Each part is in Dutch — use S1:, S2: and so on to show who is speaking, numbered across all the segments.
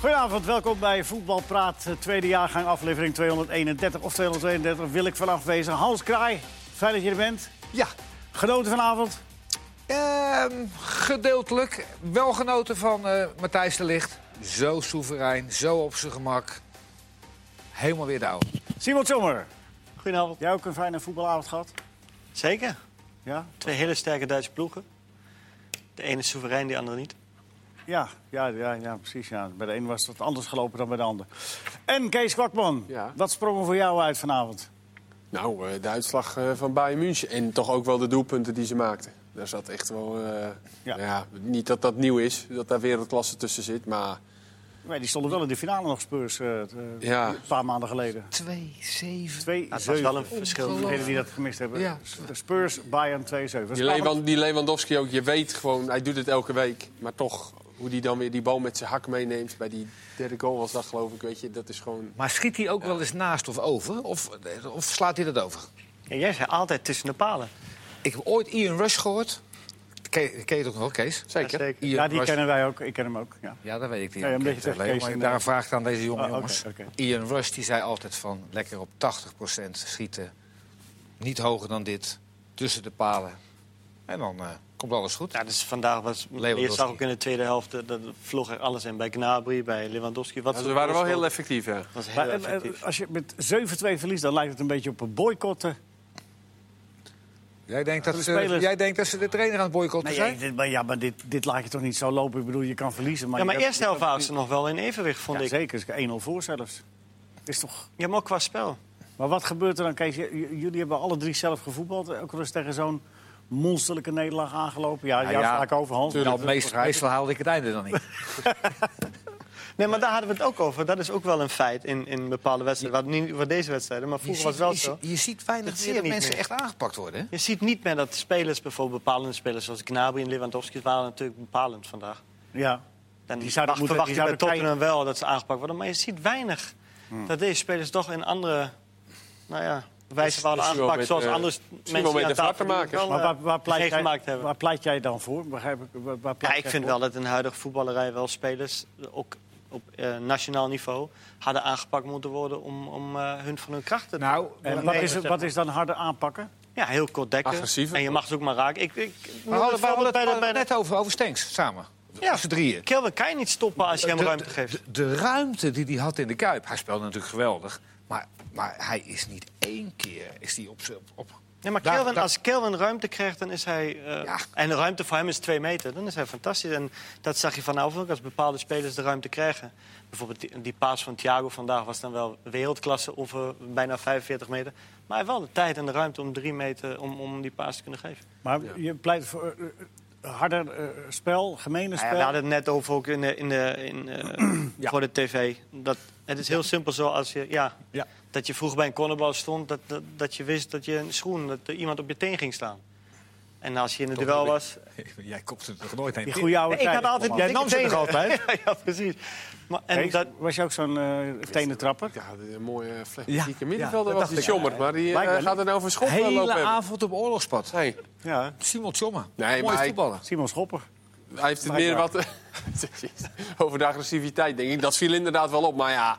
S1: Goedenavond, welkom bij Voetbal Praat, eh, tweede jaargang, aflevering 231 of 232. Wil ik vanaf wezen. Hans Kraai, fijn dat je er bent.
S2: Ja,
S1: Genoten vanavond?
S2: ehm, gedeeltelijk. Wel genoten van eh, Matthijs de Ligt. Zo soeverein, zo op zijn gemak. Helemaal weer de oude.
S1: Simon Sommer,
S3: Goedenavond.
S1: jij ook een fijne voetbalavond gehad?
S3: Zeker.
S1: Ja?
S3: Twee hele sterke Duitse ploegen. De ene is soeverein, de andere niet. Nou,
S1: Ja, ja, ja, ja precies. Ja. Bij de een was het anders gelopen dan bij de ander. En Kees Kwakman,
S4: Ja.
S1: wat sprong er voor jou uit vanavond?
S4: Nou, eh, de uitslag eh, van Bayern München. En toch ook wel de doelpunten die ze maakten. Daar zat echt wel... eh,
S1: Ja.
S4: ja. niet dat dat nieuw is, dat daar wereldklasse tussen zit. Maar
S1: Nee, die stonden wel in de finale nog Spurs eh, t- eh,
S4: Ja.
S1: een paar maanden geleden.
S2: 2-7.
S1: Twee,
S3: Dat was
S1: zeven.
S3: wel een verschil.
S1: Voor degenen die dat gemist hebben.
S2: Ja.
S1: Spurs, Bayern 2-7. Dat is
S4: die, Lewan- die Lewandowski ook, je weet gewoon, hij doet het elke week. Maar toch, hoe die dan weer die bal met zijn hak meeneemt... bij die derde goal was dat, geloof ik, weet je. Dat is gewoon...
S2: Maar schiet hij ook wel eens naast of over? Of, eh, of slaat hij dat over?
S3: Ja, jij zei altijd tussen de palen.
S2: Ik heb ooit Ian Rush gehoord. Ken, ken je het ook nog, Kees?
S4: Zeker.
S3: Ja, zeker.
S2: Ian
S1: Ja, die
S2: Rush.
S1: kennen wij ook. Ik ken hem ook. Ja.
S2: Ja, dat weet ik niet.
S1: Ja, een
S2: Ik
S1: beetje
S2: ken
S1: tegen
S2: het alleen,
S1: Kees
S2: maar
S1: en,
S2: daar
S1: eh,
S2: een vraag aan deze jonge
S1: ah, oké,
S2: jongens.
S1: oké.
S2: Ian Rush die zei altijd van lekker op 80% schieten. Niet hoger dan dit. Tussen de palen. En dan eh, komt alles goed.
S3: Ja, dus vandaag was... Je
S2: Lewandowski.
S3: zag ook in de tweede helft, eh, dat vloog er alles in. Bij Gnabry, bij Lewandowski. Wat
S4: Ja,
S3: voor
S4: ze waren wel
S3: goals
S4: heel
S3: ook.
S4: effectief, ja.
S3: Dat was heel
S1: Maar eh,
S3: effectief.
S1: als je met 7-2 verliest, dan lijkt het een beetje op een eh, boycotten.
S2: Jij denkt, dat ze,
S1: spelers-
S2: jij denkt dat ze de trainer aan het boycotten
S1: Nee,
S2: zijn?
S1: ja, dit, maar ja, maar dit, dit laat je toch niet zo lopen? Ik bedoel, je kan verliezen. Maar
S3: Ja, maar
S1: je hebt-
S3: eerst helft waren ze nog wel in evenwicht, vond
S1: Ja,
S3: ik.
S1: zeker. 1-0 voor zelfs. Is toch...
S3: Ja, maar ook qua spel.
S1: Maar wat gebeurt er dan, Kees? J- j- jullie hebben alle drie zelf gevoetbald. eh, Ook al eens tegen zo'n monsterlijke nederlaag aangelopen. Ja, ja,
S2: Nou
S1: ja,
S2: ja,
S1: vaak over Hans.
S2: Nou,
S1: Dat
S2: meest-
S1: begrijp ik.
S2: meestal haalde ik het einde dan niet.
S3: Nee, maar daar hadden we het ook over. Dat is ook wel een feit in, in bepaalde wedstrijden. Wat niet voor deze wedstrijden, maar vroeger was het wel
S2: je,
S3: zo.
S2: ziet- je ziet
S3: Dat
S2: weinig
S3: zie
S2: meer
S3: je
S2: dat
S3: niet
S2: mensen
S3: meer.
S2: echt aangepakt worden. hè?
S3: Je ziet niet meer dat spelers, bijvoorbeeld bepalende spelers zoals Gnabry en Lewandowski, waren natuurlijk bepalend vandaag.
S1: Ja.
S3: Dan
S1: Die
S3: die
S1: zouden
S3: wacht,
S1: moeten-
S3: verwacht
S1: die
S3: je bij
S1: zouden
S3: Tottenham wel dat ze aangepakt worden. Maar je ziet weinig dat deze spelers toch in andere nou ja, wijze worden
S4: misschien wel
S3: aangepakt.
S4: met,
S3: zoals
S4: eh,
S3: andere
S4: wel
S3: mensen die
S4: met
S3: aan
S4: de
S3: tafel
S4: vartenmakers.
S3: die het wel,
S1: Maar
S3: eh,
S1: waar, waar, pleit jij,
S3: meegemaakt hebben.
S1: waar pleit jij dan voor? Begrijp ik, waar, waar pleit
S3: Ja, ik
S1: jij
S3: vind
S1: voor?
S3: wel dat in de huidige voetballerij wel spelers ook op eh, nationaal niveau hadden aangepakt moeten worden om, om eh, hun van hun krachten te
S2: Nou,
S1: En
S3: Nee,
S1: wat,
S3: dat
S1: is,
S3: zeg
S1: het-
S3: maar.
S1: wat is dan harder aanpakken?
S3: Ja, heel kort dekken.
S4: Agressiever.
S3: En je mag ze ook maar raken. Ik, ik, noem
S2: we hadden,
S3: het
S2: we hadden
S3: voorbeeld
S2: het
S3: bij de, bij de,
S2: net over, over Stenks samen.
S3: Ja.
S2: Ja. Z'n drieën.
S3: Kelvin kan je niet stoppen
S1: Eh,
S3: als je hem
S2: Eh, de,
S3: ruimte geeft.
S2: de- de ruimte die hij had in de Kuip, hij speelde natuurlijk geweldig. Maar, maar hij is niet één keer is die op, z'n- op, op.
S3: Nee, maar
S2: Daar-
S3: Kelvin,
S2: daar-
S3: als Kelvin ruimte krijgt, dan is hij... eh,
S2: Ja.
S3: En de ruimte voor hem is twee meter. Dan is hij fantastisch. En dat zag je vanavond ook als bepaalde spelers de ruimte krijgen. Bijvoorbeeld die, die paas van Thiago vandaag was dan wel wereldklasse over bijna 45 meter. Maar hij heeft wel de tijd en de ruimte om drie meter om, om die paas te kunnen geven. Nou
S1: Maar je pleit voor eh, eh, harder eh, spel, gemene
S3: Nou
S1: spel.
S3: ja, we hadden het net over ook in de, in de, in, eh, voor de tv. Dat, het is heel simpel zo als je, ja,
S1: Ja.
S3: dat je vroeger bij een cornerbal stond... Dat, dat, dat je wist dat je een schoen, dat er iemand op je teen ging staan. En als je in het
S2: Toch
S3: duel
S2: heb ik-
S3: was,
S2: Jij kopt het nog nooit heen.
S1: Die goede oude
S3: Nee, ik
S1: tijd.
S3: had altijd
S1: Jij
S3: dikke
S1: nam ze nog
S3: tenen.
S1: altijd.
S3: ja, ja, precies. Maar, en
S1: Kees,
S3: dat,
S1: Was je ook zo'n eh tenentrapper?
S4: Ja, de mooie
S2: Ja,
S4: flegmatieke
S2: ja,
S4: middenvelder
S2: dat
S4: was die
S2: dacht ik.
S4: Schommert. Maar die eh,
S1: Lijkt wel.
S4: gaat er nou voor schop eh,
S2: Hele
S4: lopen hebben.
S2: avond op oorlogspad.
S4: Nee,
S1: Ja.
S2: Simon Tjomma.
S4: Nee,
S2: Mooi
S4: maar hij-
S2: voetballen.
S1: Simon Schopper.
S4: Hij heeft het meer
S1: Blijkbaar.
S4: wat over de agressiviteit, denk ik. Dat viel inderdaad wel op. Maar ja,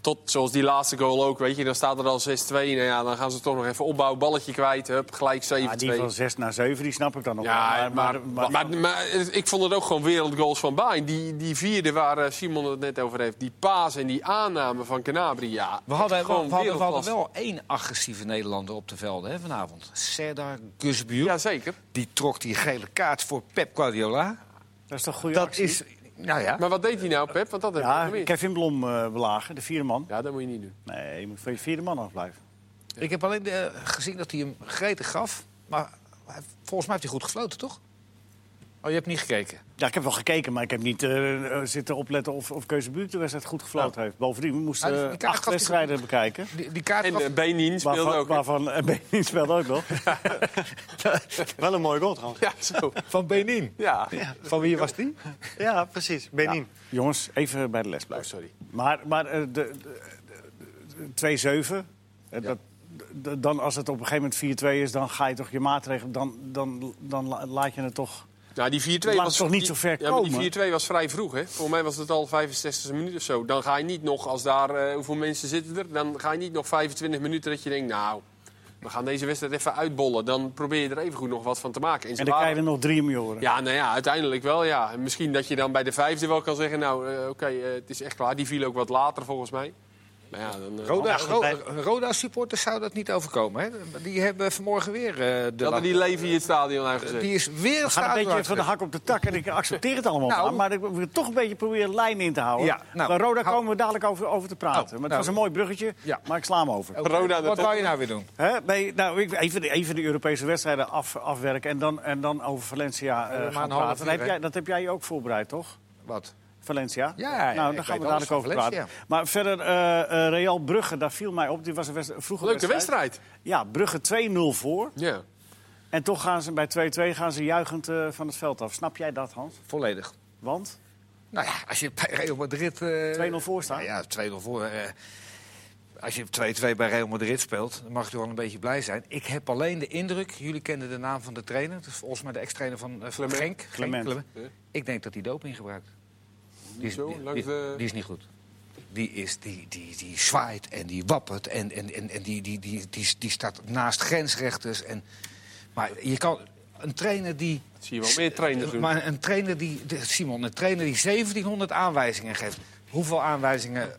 S4: tot zoals die laatste goal ook, weet je. Dan staat er al 6-2. Nou ja, dan gaan ze toch nog even opbouwen. Balletje kwijt, hup, gelijk 7-2.
S1: Ja, Ah, die van 6 naar 7, die snap ik dan nog
S4: Ja,
S1: wel.
S4: maar, maar, maar, ik vond het ook gewoon wereldgoals van Baan. Die, die vierde waar eh, Simon het net over heeft. Die paas en die aanname van Canabria. Ja,
S2: We hadden, we,
S4: gewoon
S2: hadden, we hadden
S4: wereldklasse.
S2: wel één agressieve Nederlander op de velden hè, vanavond. Serdar Gusbuur.
S4: Jazeker.
S2: Die trok die gele kaart voor Pep Guardiola.
S1: dat is toch een goede
S2: Dat
S1: actie?
S2: is... Nou ja.
S4: Maar wat deed hij nou, Pep? Want dat heb ik
S1: Ja,
S4: gemist.
S1: Kevin Blom eh, belagen, de vierde man.
S4: Ja, dat moet je niet doen.
S1: Nee, je moet van je vierde man afblijven.
S2: Ik heb alleen eh, gezien dat hij hem gretig gaf. Maar hij- volgens mij heeft hij goed gefloten, toch? Oh, je hebt niet gekeken.
S1: Ja, ik heb wel gekeken, maar ik heb niet eh, eh, zitten opletten of, of Keuzebuurt de wedstrijd goed gefloten heeft. Bovendien, we moesten
S2: Ah, die-
S1: eh,
S2: die kaart
S1: acht
S2: gaf hij
S1: wedstrijden bekijken.
S2: Die, die kaart
S4: En
S2: gaf...
S4: eh, Benin speelde
S1: Waarvan,
S4: ook.
S1: waarvan eh, Benin speelde ook nog.
S3: wel een mooie goal trouwens.
S4: Ja, zo.
S2: Van Benin.
S4: Ja.
S2: Van wie was die?
S3: Ja, precies. Benin.
S1: Jongens, even bij de les
S4: Oh,
S1: blijven.
S4: sorry.
S1: Maar, maar eh, de, de, de- de 2-7, eh, dat, de- dan als het op een gegeven moment 4-2 is, dan ga je toch je maatregelen, dan, dan, dan la- laat je het toch.
S4: Nou, die 4-2
S1: Laat
S4: was
S1: toch niet
S4: die-
S1: zo ver
S4: ja, maar
S1: komen?
S4: Die 4-2 was vrij vroeg, hè? Volgens mij was het al 65e minuut of zo. Dan ga je niet nog, als daar eh, hoeveel mensen zitten er, dan ga je niet nog 25 minuten dat je denkt, nou, we gaan deze wedstrijd even uitbollen. Dan probeer je er even goed nog wat van te maken. ze
S1: En dan krijg je
S4: waren-
S1: er nog drie om je horen.
S4: Ja, nou ja, uiteindelijk wel, ja. En misschien dat je dan bij de vijfde wel kan zeggen, nou, eh, oké, eh, het is echt klaar. Die viel ook wat later volgens mij. Maar ja, dan, eh,
S2: Roda,
S3: Ja,
S2: Ro-
S3: bij-
S2: Roda supporters zou dat niet overkomen. Hè? Die hebben vanmorgen weer eh, de
S4: hadden
S2: lak-
S4: die Levi het stadion uitgezet.
S2: die is weer het
S1: Gaat een beetje van de
S2: stadion
S1: hak op de tak en ik accepteer het allemaal.
S2: Nou.
S1: maar, maar ik wil toch een beetje proberen lijn in te houden.
S2: Ja, nou,
S1: maar Roda
S2: hou-
S1: komen we dadelijk over, over te praten.
S2: Oh,
S1: maar het
S2: nou.
S1: was een mooi bruggetje,
S2: Ja. Oh.
S1: maar ik sla hem over.
S2: Oké,
S4: Roda de
S2: Wat
S4: top.
S2: wou je nou weer doen?
S1: Hè? Nee, nou, ik, even, de- even de Europese wedstrijden af, afwerken en dan, en dan over Valencia eh
S2: maar
S1: gaan
S2: een half
S1: praten.
S2: uur,
S1: Dat heb,
S2: hè?
S1: jij, dat heb jij ook voorbereid, toch?
S2: Wat?
S1: Valencia?
S2: Ja, ja,
S1: Nou, daar
S2: ik
S1: gaan we
S2: weet alles
S1: dadelijk
S2: van
S1: over
S2: Valencia.
S1: praten. Maar verder, eh, eh, Real Brugge, daar viel mij op. Die was een wedstrijd, vroeger
S4: Leuke wedstrijd.
S1: Ja, Brugge 2-0 voor.
S4: Ja.
S1: En toch gaan ze bij 2-2 gaan ze juichend eh, van het veld af. Snap jij dat, Hans?
S2: Volledig.
S1: Want
S2: Nou ja, als je bij Real Madrid... eh,
S1: 2-0 voor staat.
S2: nou ja, 2-0 voor. eh, als je 2-2 bij Real Madrid speelt, dan mag je toch wel een beetje blij zijn. Ik heb alleen de indruk, jullie kennen de naam van de trainer. Dat is volgens mij de ex-trainer van, eh, van
S4: Clement.
S2: Genk. Genk,
S1: Clement.
S2: Ik denk dat hij doping gebruikt. Die is,
S4: Zo,
S2: die-
S4: langs de-
S2: die, die is niet goed. Die, is, die, die, die zwaait en die wappert en, en, en, en die, die, die, die, die staat naast grensrechters. En, maar je kan een trainer die...
S4: Dat zie je wel meer trainers doen.
S2: Maar een trainer die, de- Simon, een trainer die 1700 aanwijzingen geeft. Hoeveel aanwijzingen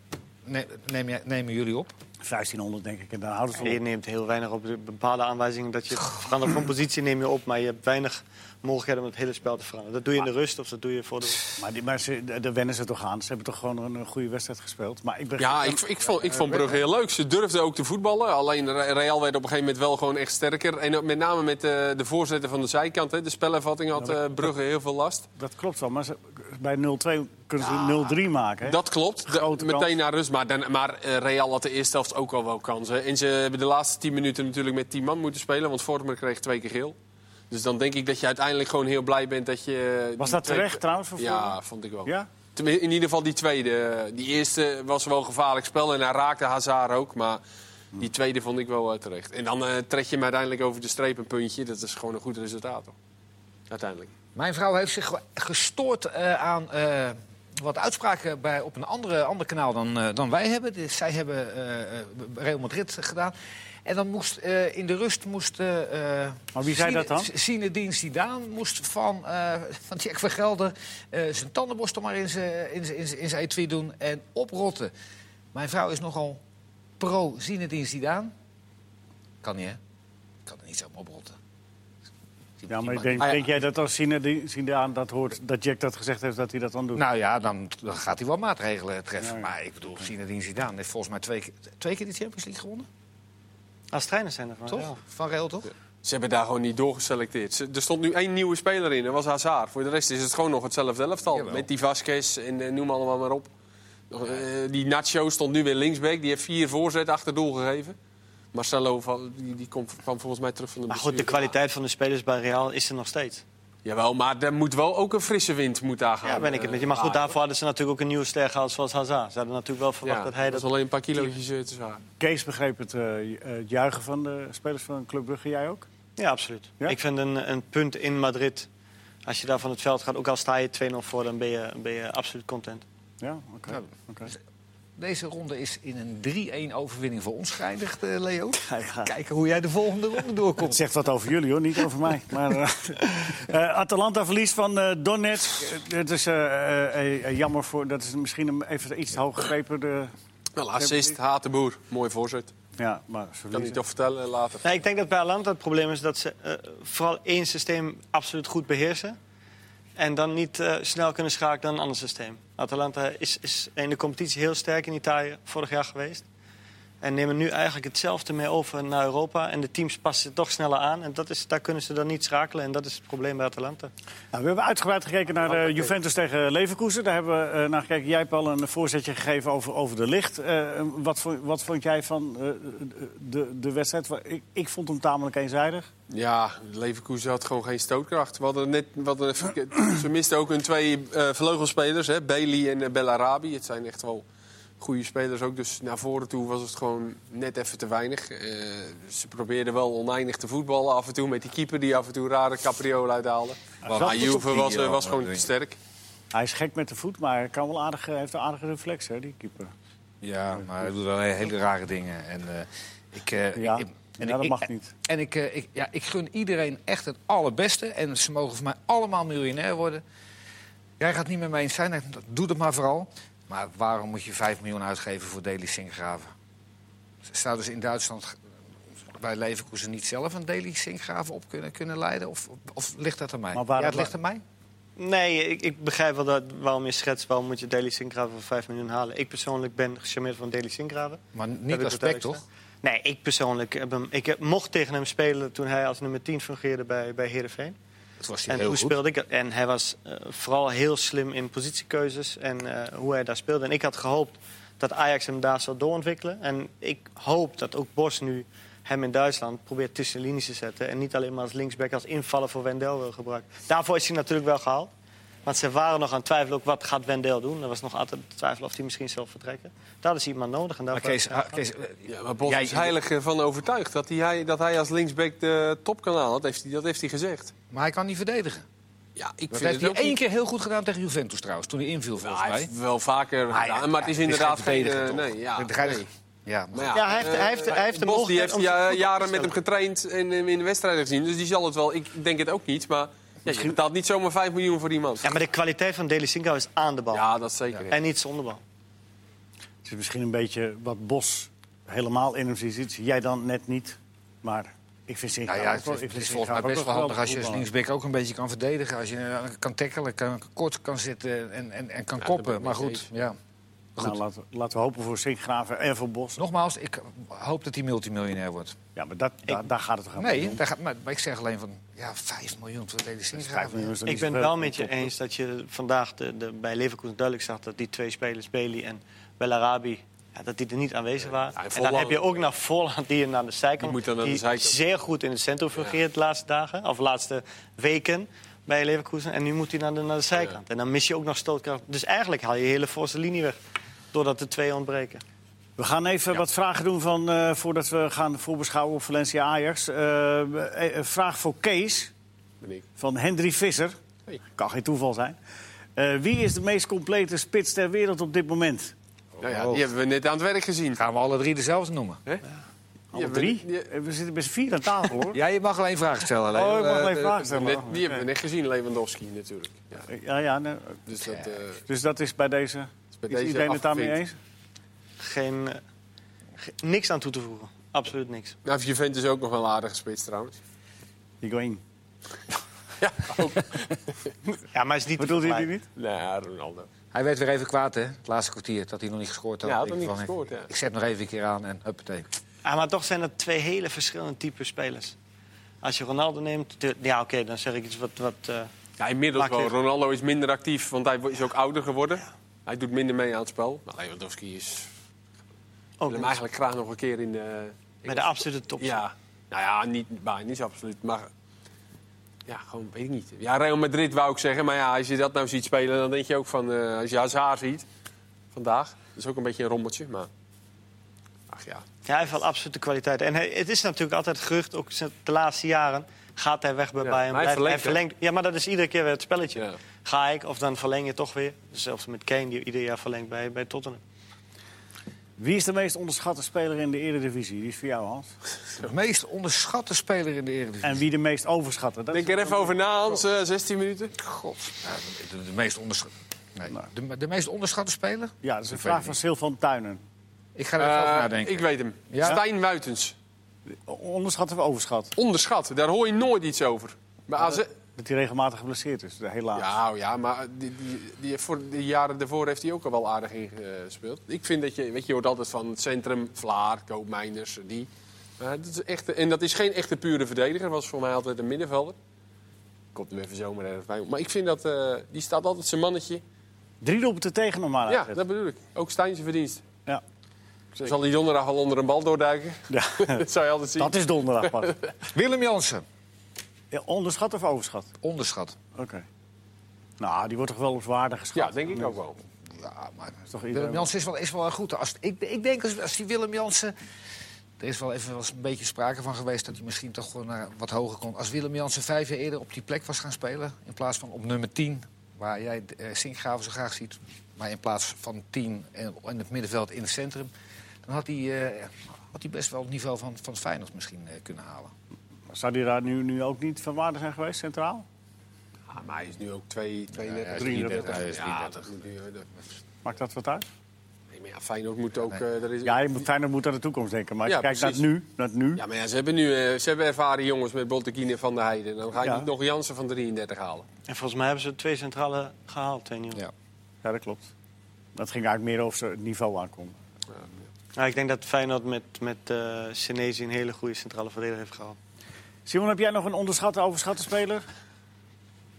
S2: ne- neem je- nemen jullie op?
S1: 1500 denk ik, en daar houdt het
S3: Je
S1: op.
S3: neemt heel weinig op de bepaalde aanwijzingen dat je verandert van positie neem je op, maar je hebt weinig mogelijkheden om het hele spel te veranderen. Dat doe je in de rust of dat doe je voor de.
S1: Maar, die, maar ze, daar wennen ze toch aan. Ze hebben toch gewoon een, een goede wedstrijd gespeeld. Maar ik ben...
S4: Ja, ik, ik, vond, ik vond Brugge heel leuk. Ze durfden ook te voetballen. Alleen Re- Real werd op een gegeven moment wel gewoon echt sterker. En ook met name met eh, de voorzetten van de zijkant. Hè. De spelervatting had eh, Brugge heel veel last.
S1: Dat klopt wel, maar ze, bij 0-2 kunnen ze 0-3 maken. hè?
S4: Dat klopt. De-
S1: Grote kans.
S4: meteen naar rust. Maar, dan, maar eh, Real had de eerste helft ook al wel kansen. En ze hebben de laatste 10 minuten natuurlijk met 10 man moeten spelen. Want Vormer kreeg twee keer geel. Dus dan denk ik dat je uiteindelijk gewoon heel blij bent dat je...
S1: Was
S4: eh, die
S1: dat
S4: twee-
S1: terecht trouwens voor
S4: Ja,
S1: Vormer?
S4: vond ik wel.
S1: Ja?
S4: Tenmin- In ieder geval die tweede. Die eerste was wel een gevaarlijk spel en hij raakte Hazard ook. Maar die tweede vond ik wel eh, terecht. En dan eh trek je hem uiteindelijk over de streep een puntje. Dat is gewoon een goed resultaat. Hoor. Uiteindelijk.
S2: Mijn vrouw heeft zich ge- gestoord eh, aan eh, wat uitspraken bij, op een andere, ander kanaal dan, eh, dan wij hebben. Dus zij hebben eh, eh, Real Madrid gedaan. En dan moest eh, in de rust moest. eh, eh,
S1: Maar wie zei
S2: Zine-
S1: dat dan?
S2: Z- Zinedine Zidane moest van, eh van Jack van Gelder eh, zijn tandenborstel maar in zijn in zijn- in zijn- in zijn etui doen en oprotten. Mijn vrouw is nogal pro Zinedine Zidane. Kan niet, hè? Kan er niet zo oprotten.
S1: Ja, maar
S2: Die
S1: ik
S2: man-
S1: denk,
S4: Ah, ja.
S1: denk jij dat als Sinedaan dat hoort, dat Jack dat gezegd heeft, dat hij dat dan doet?
S2: Nou ja, dan, dan gaat hij wel maatregelen treffen. Maar ik bedoel, Zinedine Zidane heeft volgens mij twee, keer- twee keer de Champions League gewonnen.
S3: Als trainers zijn er
S5: Ah,
S3: van.
S2: Toch?
S3: ja.
S2: Van Real, toch?
S4: Ze hebben daar gewoon niet doorgeselecteerd. Ze- Er stond nu één nieuwe speler in. Dat was Hazard. Voor de rest is het gewoon nog hetzelfde elftal.
S2: Jawel.
S4: Met die Vasquez en eh, noem allemaal maar op. Nog, eh, die Nacho stond nu weer linksback. Die heeft vier voorzet achter doel gegeven. Marcelo van- die, die komt, kwam volgens mij terug van de
S3: Maar goed, de
S4: blessure.
S3: kwaliteit van de spelers bij Real is er nog steeds.
S4: Jawel, maar er moet wel ook een frisse wind moet daar gaan. eh,
S3: Ja, eh, ah, ben ik het met je. Maar goed, daarvoor hadden ze natuurlijk ook een nieuwe ster gehaald zoals Hazard. Ze hadden natuurlijk wel verwacht
S4: Ja,
S3: dat hij dat...
S4: is alleen een paar kilootjes eh, te zwaar.
S1: Kees begreep het eh, ju- eh, het juichen van de spelers van Club Brugge, jij ook?
S3: Ja, absoluut.
S1: Ja?
S3: Ik vind een, een punt in Madrid, als je daar van het veld gaat... ook al sta je 2-0 voor, dan ben je, ben je absoluut content.
S1: Ja, oké.
S2: Nou,
S1: oké.
S2: Deze ronde is in een 3-1 overwinning voor ons geëindigd, eh, Leo.
S1: ja.
S2: Kijken hoe jij de volgende ronde
S1: Het
S2: doorkomt.
S1: zegt wat over jullie hoor, niet over mij. Maar, eh, eh, Atalanta verliest van eh, Donetsk. Eh, Het is eh, eh, eh, jammer voor, dat is misschien een, even iets te hoog gegrepen. De,
S4: Wel, assist, Hatenboer. Mooi voorzet.
S1: ja, maar ze
S4: Kan hij
S1: verliezen.
S4: toch vertellen later.
S3: Nee, nou, ik denk dat bij Atalanta het probleem is dat ze eh, vooral één systeem absoluut goed beheersen. En dan niet eh, snel kunnen schakelen naar een ander systeem. Atalanta is, is in de competitie heel sterk in Italië vorig jaar geweest. En nemen nu eigenlijk hetzelfde mee over naar Europa. En de teams passen het toch sneller aan. En dat is, daar kunnen ze dan niet schakelen. En dat is het probleem bij Atalanta.
S1: Nou, we hebben uitgebreid gekeken naar eh, Juventus tegen Leverkusen. Daar hebben we eh, naar gekeken. Jij hebt al een voorzetje gegeven over, over de licht. Eh, wat, vond, wat vond jij van eh, de, de wedstrijd? Wa- Ik, ik vond hem tamelijk eenzijdig.
S4: Ja, Leverkusen had gewoon geen stootkracht. We hadden net, we hadden even- ze misten ook hun twee eh, vleugelspelers, hè, Bailey en eh, Bellarabi. Het zijn echt wel goede spelers ook. Dus naar voren toe was het gewoon net even te weinig. Eh, ze probeerden wel oneindig te voetballen af en toe. Met die keeper die af en toe rare capriolen uithaalde. Maar
S1: zat goed op
S4: Juve
S5: die,
S4: was, eh,
S5: ja,
S4: was gewoon
S5: denk
S4: te
S5: ik.
S4: sterk.
S1: Hij is gek met de voet, maar hij kan wel aardig, eh, heeft een aardige reflex, hè, die keeper.
S5: Ja, maar hij doet wel hele rare dingen. En, eh, ik, eh,
S1: Ja,
S5: ik-
S1: ja dat
S2: ik-
S1: mag niet.
S2: En ik, eh, ik, ja, ik gun iedereen echt het allerbeste. En ze mogen voor mij allemaal miljonair worden. Jij gaat het niet met me eens zijn, dat- dat- doe dat maar vooral. Maar waarom moet je 5 miljoen uitgeven voor Daily Sinkgraven? Zouden ze dus in Duitsland g- bij Leverkusen niet zelf een Daily Sinkgraven op kunnen, kunnen leiden? Of, of ligt dat aan mij?
S1: Maar waarom-
S2: ja, het ligt aan mij.
S3: Nee, ik, ik begrijp wel dat, waarom je schetst. Waarom moet je Daily Singraven voor 5 miljoen halen? Ik persoonlijk ben gecharmeerd van Daily Singraven.
S2: Maar
S3: Heb
S2: niet als
S3: ik dat
S2: spek,
S3: duidelijk
S2: toch?
S3: gezegd? Nee, ik persoonlijk heb hem, ik heb- mocht tegen hem spelen toen hij als nummer 10 fungeerde bij, bij Heerenveen.
S2: Het was
S3: En
S2: heel
S3: toen
S2: goed.
S3: speelde ik. En hij was eh, vooral heel slim in positiekeuzes en eh, hoe hij daar speelde. En ik had gehoopt dat Ajax hem daar zou doorontwikkelen. En ik hoop dat ook Bos nu hem in Duitsland probeert tussen de linies te zetten. En niet alleen maar als linksback, als invallen voor Wendel wil gebruiken. Daarvoor is hij natuurlijk wel gehaald. Want ze waren nog aan het twijfelen ook wat gaat Wendel doen. Er was nog altijd de twijfel of hij misschien zelf vertrekken. Daar is iemand nodig. En
S2: Maar
S3: daarvoor
S2: Kees,
S3: hebben ze
S2: ha-
S3: hem gehaald.
S2: Kees, eh,
S4: Ja, maar Bos
S2: Jij-
S4: is heilig eh, van overtuigd dat hij, dat hij als linksback de topkanaal had. Heeft hij, dat heeft hij gezegd.
S2: maar hij kan niet verdedigen.
S4: Ja, ik
S2: Dat
S4: vind
S2: heeft
S4: het
S2: hij
S4: ook
S2: één
S4: niet-
S2: keer heel goed gedaan tegen Juventus trouwens, toen hij inviel volgens
S4: Ja, hij
S2: mij.
S4: heeft wel vaker
S2: ja,
S4: gedaan, maar het is
S2: ja, het is
S4: inderdaad
S2: geen
S4: geen... eh,
S2: verdediger, toch?
S4: nee, ja,
S2: Verdediger-
S4: nee.
S2: Ja, maar-
S4: Maar eh,
S3: Ja, hij heeft- hij heeft- hij heeft de
S4: Bos die
S3: mogelijkheid
S4: heeft
S3: om zijn
S4: ja,
S3: voet op te
S4: jaren met
S3: stellen.
S4: hem getraind en hem in de wedstrijden gezien. Dus die zal het wel. Ik denk het ook niet, maar ja, je betaalt niet zomaar 5 miljoen voor die man.
S3: Ja, maar de kwaliteit van Deli Sinko is aan de bal.
S4: Ja, dat zeker.
S3: En niet zonder bal.
S1: Het is misschien een beetje wat Bos helemaal in hem ziet. Jij dan net niet, maar ik vind Sinkgraven...
S2: Nou ja, het
S1: ook wel-
S2: is,
S1: ik
S2: het
S1: vind
S2: is volgens mij
S1: Sinkgraven
S2: best
S1: ook
S2: wel handig als je
S1: geweldig voetballer.
S2: als linksback ook een beetje kan verdedigen. Als je eh, kan tackelen, kan, kort kan zitten en, en, en kan koppen.
S4: ik
S2: Maar
S4: mee
S2: goed, ja.
S1: Nou, laten, we- laten we hopen voor Sinkgraven en voor Bos.
S2: nogmaals, ik hoop dat hij multimiljonair wordt.
S1: Ja, maar dat, daar, daar gaat het toch helemaal niet
S2: Nee,
S1: om.
S2: daar gaat, maar, maar ik zeg alleen van, ja, 5 miljoen voor deze
S1: Vijf
S2: Sinkgraven.
S1: miljoen is dan
S3: Ik
S1: niet
S3: ben het
S1: zoveel.
S3: wel met je eens dat je vandaag de, de, bij Leverkusen duidelijk zag dat die twee spelers, Bailey en Bellarabi, ja, dat die er niet aanwezig waren.
S4: ja,
S3: en dan
S4: Volland-
S3: heb je ook naar Volland die je aan de
S4: Die
S3: zijkant,
S4: moet dan aan de zijkant.
S3: zeer goed in het centrum fungeert de laatste dagen, of laatste weken bij Leverkusen. En nu moet hij naar de, naar de zijkant. En dan mis je ook nog stootkracht. Dus eigenlijk haal je je hele voorste linie weg, doordat er twee ontbreken.
S1: We gaan even wat vragen doen van, eh, voordat we gaan voorbeschouwen op Valencia Ajax. Eh, eh, een vraag voor Kees
S4: Ben ik.
S1: van Hendry Visser.
S4: Hey.
S1: Kan geen toeval zijn. Eh, wie is de meest complete spits ter wereld op dit moment?
S4: Nou ja, die hebben we net aan het werk gezien.
S2: Gaan we alle drie dezelfde noemen?
S1: Alle
S4: Ja, we-
S1: drie?
S4: ja.
S1: Eh, We zitten met z'n vier aan tafel, hoor.
S2: Ja, je mag alleen vragen stellen. Leo.
S1: Oh, ik mag
S2: Eh,
S1: alleen
S2: de-
S1: vragen
S4: Net-
S1: stellen.
S4: die hebben we net gezien, Lewandowski natuurlijk. Ja,
S1: Eh, Ja, ja, nee.
S4: dus dat, eh,
S1: Dus dat is bij deze...
S4: is bij
S1: is
S4: deze
S1: iedereen het daarmee
S4: afgevinkt.
S1: eens?
S3: Geen, eh, ge- niks aan toe te voegen. Absoluut niks.
S4: Nou, heeft Juventus ook nog wel aardig gespeeld trouwens.
S1: Die going.
S4: Ja, ook.
S3: Ja, maar is niet te
S1: Bedoelde je die
S3: vergelijken.
S1: niet?
S4: nou, Ronaldo.
S2: Hij werd weer even kwaad, hè? Het laatste kwartier, dat hij nog niet gescoord had.
S4: Ja, had
S2: Ik
S4: nog niet
S2: van, ik-
S4: gescoord, ja.
S2: Ik zet nog even een keer aan en huppatee.
S3: Ah, maar toch zijn dat twee hele verschillende type spelers. Als je Ronaldo neemt, de- ja oké, dan zeg ik iets wat... wat eh,
S4: Ja, inmiddels
S3: Maakt
S4: wel.
S3: het-
S4: Ronaldo is minder actief, want hij wo- is ook ouder geworden. Hij doet minder mee aan het spel. Maar Lewandowski is...
S3: ook
S4: wil hem
S3: niet.
S4: eigenlijk graag nog een keer in de...
S3: bij de absolute top.
S4: Ja, nou ja, niet, maar, niet zo absoluut, maar... Ja, gewoon, weet ik niet. Ja, Real Madrid wou ik zeggen, maar ja, als je dat nou ziet spelen... dan denk je ook van, eh, als je Hazard ziet vandaag... dat is ook een beetje een rommeltje, maar... Ach ja.
S3: Ja, hij heeft wel absolute kwaliteit. En hij- het is natuurlijk altijd gerucht, ook sinds de laatste jaren... gaat hij weg bij
S4: Ja,
S3: Bayern.
S4: maar hij
S3: blijft-
S4: verlengt
S3: Ja, maar dat is iedere keer weer het spelletje.
S4: Ja.
S3: Ga ik of dan verleng je toch weer. Zelfs met Kane, die ieder jaar verlengt bij, bij Tottenham.
S1: Wie is de meest onderschatte speler in de Eredivisie? Die is voor jou, Hans.
S2: De meest onderschatte speler in de Eredivisie.
S1: En wie de meest overschatten? Dat is-
S4: Denk er even over na, Hans. eh, 16 minuten.
S2: God, ja, de, de, de meest onderschat... Nee.
S1: Nou.
S2: De, de meest onderschatte speler?
S1: Ja, dat is een
S2: Ik
S1: vraag
S2: weet
S1: van
S2: het
S1: Silvan Tuinen.
S2: Ik ga er even over
S4: Eh,
S2: nadenken.
S4: ik weet hem.
S2: Ja?
S4: Stijn Wuitens.
S1: Onderschat of overschat?
S4: Onderschat, daar hoor je nooit iets over. Maar AZ...
S1: Dat hij regelmatig geblesseerd is, helaas.
S4: Ja, oh ja, maar die, die, die, voor de jaren daarvoor heeft hij ook al wel aardig ingespeeld. Ik vind dat je, weet je, je hoort altijd van het centrum, Vlaar, Koopmeiners, die. Maar dat is echt, en dat is geen echte pure verdediger, was voor mij altijd een middenvelder. Komt nu even zomaar ergens bij. Maar ik vind dat, eh, die staat altijd zijn mannetje.
S1: Drie doelpunten tegen normaal.
S4: Ja,
S1: Ja,
S4: dat bedoel ik. Ook Stijn zijn verdienst.
S1: ja.
S4: Zo Zal hij donderdag al onder een bal doorduiken? dat zou je altijd zien.
S1: dat is donderdag pas.
S2: Willem Jansen,
S1: Ja, onderschat of overschat?
S2: onderschat.
S1: Oké. Nou, die wordt toch wel op zwaarder geschat?
S4: Ja, denk ik ook wel.
S2: Ja, maar
S1: toch iedereen-
S2: Willem Jansen is wel, is wel goed. Als, ik, ik denk als, als die Willem Jansen... Er is wel even wel eens een beetje sprake van geweest dat hij misschien toch gewoon naar wat hoger kon. Als Willem Jansen vijf jaar eerder op die plek was gaan spelen, in plaats van op nummer 10, waar jij eh Sinkgraven zo graag ziet, maar in plaats van 10 en in het middenveld in het centrum, dan had hij, eh, had hij best wel het niveau van, van Feyenoord misschien eh, kunnen halen.
S1: Zou die daar nu, nu ook niet van waarde zijn geweest, centraal?
S4: Ah, maar hij is nu ook 32,
S5: hij is
S1: 33.
S4: 33.
S5: Hij is
S4: Ja,
S5: 33.
S4: dat moet nu, eh, dat-
S1: Maakt dat wat uit?
S4: Nee, maar ja, Feyenoord moet ook... eh, er is,
S1: Ja, je moet, Feyenoord moet aan de toekomst denken. Maar als je
S4: Ja,
S1: kijkt naar het
S4: precies.
S1: nu, naar het nu
S4: Ja, maar ja, ze hebben nu eh, ze hebben ervaren jongens met Boltekine van de Heijden. Dan ga je
S1: Ja.
S4: niet nog Jansen van 33 halen.
S3: En volgens mij hebben ze twee centrale gehaald, twee nieuwe.
S5: Ja.
S1: Ja, dat klopt. Dat ging eigenlijk meer over ze- het niveau aankomen.
S3: Nou, ik denk dat Feyenoord met, met eh Senesi een hele goede centrale verdediger heeft gehaald.
S1: Simon, heb jij nog een onderschatte, overschatte speler?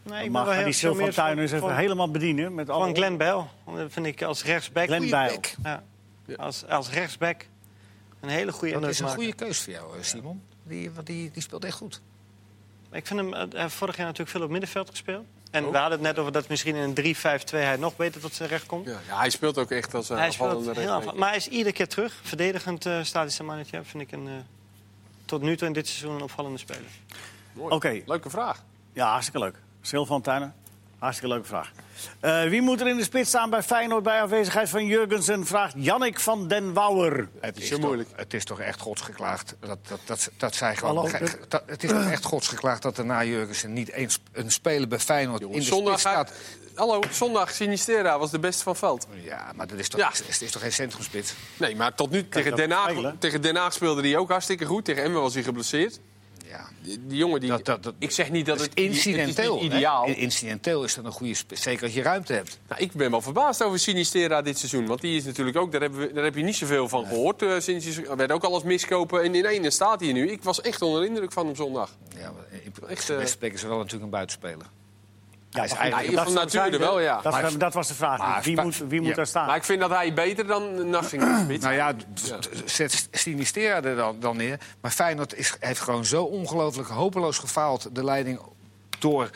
S3: Nee,
S1: Mag ga die Sil van Tuin eens even helemaal bedienen. Met alle...
S3: Van Glenn Bijl. Dat vind ik als rechtsback.
S1: Glenn
S3: Goeie
S1: Bijl.
S3: back. Ja. Als, als rechtsback een hele goede
S2: Dat
S3: indruk
S2: is een
S3: maken.
S2: goede keus voor jou, eh, Simon. Die, want die, die speelt echt goed.
S3: Ik vind hem, eh, hij heeft vorig jaar natuurlijk veel op middenveld gespeeld. En we hadden het net over dat misschien in een 3-5-2 hij nog beter tot zijn recht komt.
S4: Ja, ja, hij speelt ook echt als eh, een
S3: hij speelt
S4: aanvallende
S3: heel aanvallend.
S4: rechtsback.
S3: Maar hij is iedere keer terug. Verdedigend eh staat hij zijn mannetje. Vind ik een, eh, tot nu toe in dit seizoen een opvallende speler.
S4: Mooi.
S1: Oké,
S4: Leuke vraag.
S1: ja, hartstikke leuk. Sil van Tuinen, hartstikke leuke vraag. Eh, wie moet er in de spits staan bij Feyenoord bij afwezigheid van Jurgensen? Vraagt Jannik van den Wouwer.
S2: Het
S4: is zo
S2: toch-
S4: moeilijk.
S2: Het is toch echt godsgeklaagd dat, dat, dat, dat zij gewoon.
S1: Hallo.
S2: ge- dat- het is toch echt godsgeklaagd dat er na Jurgensen niet eens een speler bij Feyenoord in de
S4: zondag,
S2: spits staat.
S4: hallo, zondag Sinistera was de beste van veld.
S2: Ja, maar dat is toch,
S4: Ja.
S2: het is toch geen centrumspits?
S4: Nee, maar tot nu tegen
S1: dat
S4: Den,
S1: spelen.
S4: Haag, tegen Den Haag speelde hij ook hartstikke goed. Tegen Emmen was hij geblesseerd.
S2: Ja.
S4: Die, die jongen, die,
S2: Dat- dat- dat-
S4: ik zeg niet dat
S2: Dat is
S4: het
S2: incidenteel.
S4: het is
S2: hè?
S4: niet ideaal.
S2: In- Incidenteel is dat een goede spits. Zeker als je ruimte hebt.
S4: Nou, ik ben wel verbaasd over Sinistera dit seizoen. Want die is natuurlijk ook, daar, hebben we, daar heb je niet zoveel van gehoord. eh, sinds hij- er werd ook alles miskopen. En in één staat hij nu. Ik was echt onder de indruk van hem zondag.
S2: Ja, maar in- in-
S4: Echt,
S2: zijn
S4: eh,
S2: best spreken ze wel natuurlijk een buitenspeler.
S1: Ja,
S2: is
S1: maar
S2: eigenlijk-
S1: goed,
S4: Ja, van
S1: dat-
S4: nature wel, ja.
S1: Dat,
S2: Maar-
S1: dat was de vraag.
S2: maar-
S1: wie moet, wie moet
S2: Ja.
S1: daar staan?
S4: Maar ik vind dat hij beter dan Nassing spits.
S2: Nou ja, d- d- zet Sinistera er dan, dan neer. Maar Feyenoord is, heeft gewoon zo ongelooflijk hopeloos gefaald de leiding door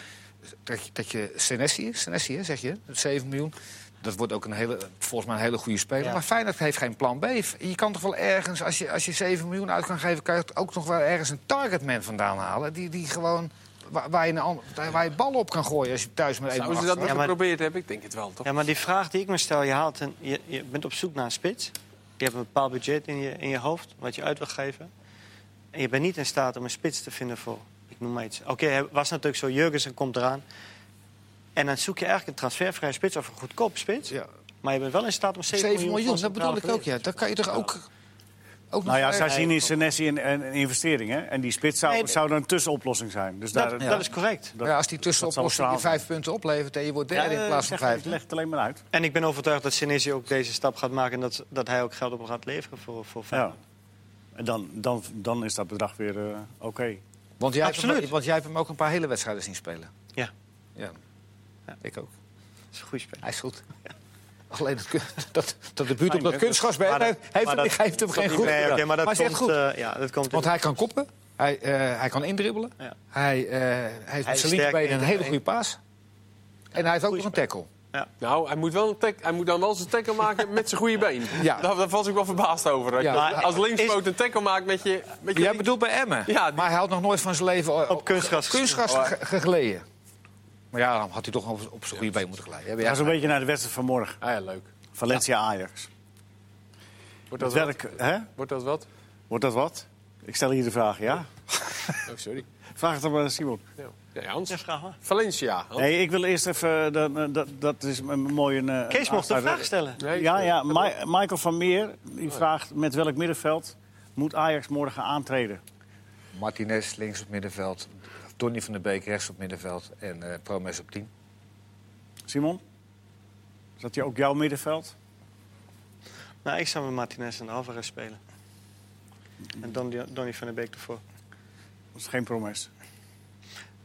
S2: dat je, dat je Senesi, Senesi hè, zeg je, het 7 miljoen. Dat wordt ook een hele, volgens mij een hele goede speler.
S3: Ja.
S2: Maar Feyenoord heeft geen plan B. Je kan toch wel ergens, als je, als je 7 miljoen uit kan geven... kan je het ook nog wel ergens een targetman vandaan halen... die, die gewoon, waar, waar je een ander- waar je ballen op kan gooien als je thuis met één
S4: Zouden ze dat niet
S3: Ja, maar-
S4: geprobeerd hebben? Ik denk het wel, toch?
S3: Ja, maar die vraag die ik me stel, je, haalt een, je, je bent op zoek naar een spits. Je hebt een bepaald budget in je, in je hoofd, wat je uit wil geven. En je bent niet in staat om een spits te vinden voor, ik noem maar iets. Oké, hij was natuurlijk zo, Jurgensen komt eraan. En dan zoek je eigenlijk een transfervrije spits of een goedkoop spits.
S2: Ja.
S3: Maar je bent wel in staat om 7,
S2: 7 miljoen,
S3: voor
S2: dat bedoel ik
S3: centrale
S2: ook, ja. Dan kan je toch ook... ook nog
S1: Nou ja,
S2: ergens-
S1: zij zien in Senesi een, een, een investering. Hè? En die spits zou,
S3: Nee, nee.
S1: zou dan een tussenoplossing zijn. Dus
S3: verdediger.
S1: daar,
S3: Dat, dat is correct.
S1: dat-
S2: ja, als die
S1: dat zal
S2: tussenoplossing
S1: het
S2: je
S1: verhaal
S2: vijf punten oplevert en je wordt
S1: Ja,
S2: derde
S3: eh,
S2: in plaats van
S1: ik Eh, zeg-
S2: vijf.
S1: Ik leg het alleen maar uit.
S3: En ik ben overtuigd dat Senesi ook deze stap gaat maken... en dat, dat hij ook geld op gaat leveren voor, voor
S1: Ja.
S3: Feyenoord.
S1: En dan, dan, dan is dat bedrag weer eh, oké.
S2: Want jij, hebt hem,
S3: Absoluut.
S2: want jij hebt hem ook een paar hele wedstrijden zien spelen.
S3: Ja.
S2: Ja, ik ook.
S3: Dat is een goede speler.
S2: Hij is goed. Alleen dat, kun- dat, dat de buurt op dat kunstgras bij
S3: Maar dat-
S2: heeft, heeft,
S3: maar
S2: hem-
S3: dat-
S2: geeft hem geen goed.
S3: Nee, oké, maar dat
S2: hij is echt
S3: komt...
S2: goed.
S3: eh, ja, dat komt
S2: Want hij kan koppen, hij, eh, hij kan indribbelen,
S3: Ja.
S2: hij, eh, hij heeft met
S3: Hij is
S2: zijn
S3: sterk
S2: linkerbeen
S3: in
S2: een
S3: de
S2: hele
S3: been.
S2: goede paas. En hij heeft ook
S3: Goeie
S2: nog een tackle.
S4: Nou, hij moet, wel een tack- hij moet dan wel zijn tackle maken met zijn goede been.
S2: Ja.
S4: Daar, daar was ik wel verbaasd over. dat
S2: Ja.
S4: je
S3: Maar-
S4: als linkspoot een tackle maakt met je... Met je
S2: Jij bedoelt bij Emmen,
S4: Ja, die-
S2: maar hij had nog nooit van zijn leven eh,
S3: Op kunstgras.
S2: kunstgras ge- ge- geleden. Maar ja, dan had hij toch op, op zijn goede been moeten glijden. Ja,
S1: Ga
S2: ja.
S1: zo'n beetje naar de wedstrijd van morgen.
S4: Ah ja, leuk.
S1: Valencia-Ajax.
S4: Wordt
S1: Dat
S4: dat, wat?
S1: werk, hè?
S4: Wordt dat wat?
S1: Wordt dat wat? Ik stel hier de vraag, ja?
S4: Oh, sorry.
S1: Vraag het dan maar aan Simon.
S4: Ja, Ja, Hans.
S3: Ja, vraag maar.
S4: Valencia. Hans.
S1: Nee, ik wil eerst even... eh, dan, eh, dat, dat is een mooie... eh,
S3: Kees mocht een
S1: aansluiter.
S3: vraag stellen.
S4: Nee,
S1: Ja,
S4: ik- Oh.
S1: ja. Mi- Michael van Meer die vraagt... met welk middenveld moet Ajax morgen aantreden?
S5: Martinez links op middenveld. Donny van der Beek rechts op middenveld. En eh, Promes op 10.
S1: Simon? Is dat hier ook jouw middenveld?
S3: Nou, ik zou met Martinez en Alvarez spelen. En Don, Donny van der Beek ervoor.
S1: Dat is geen promes.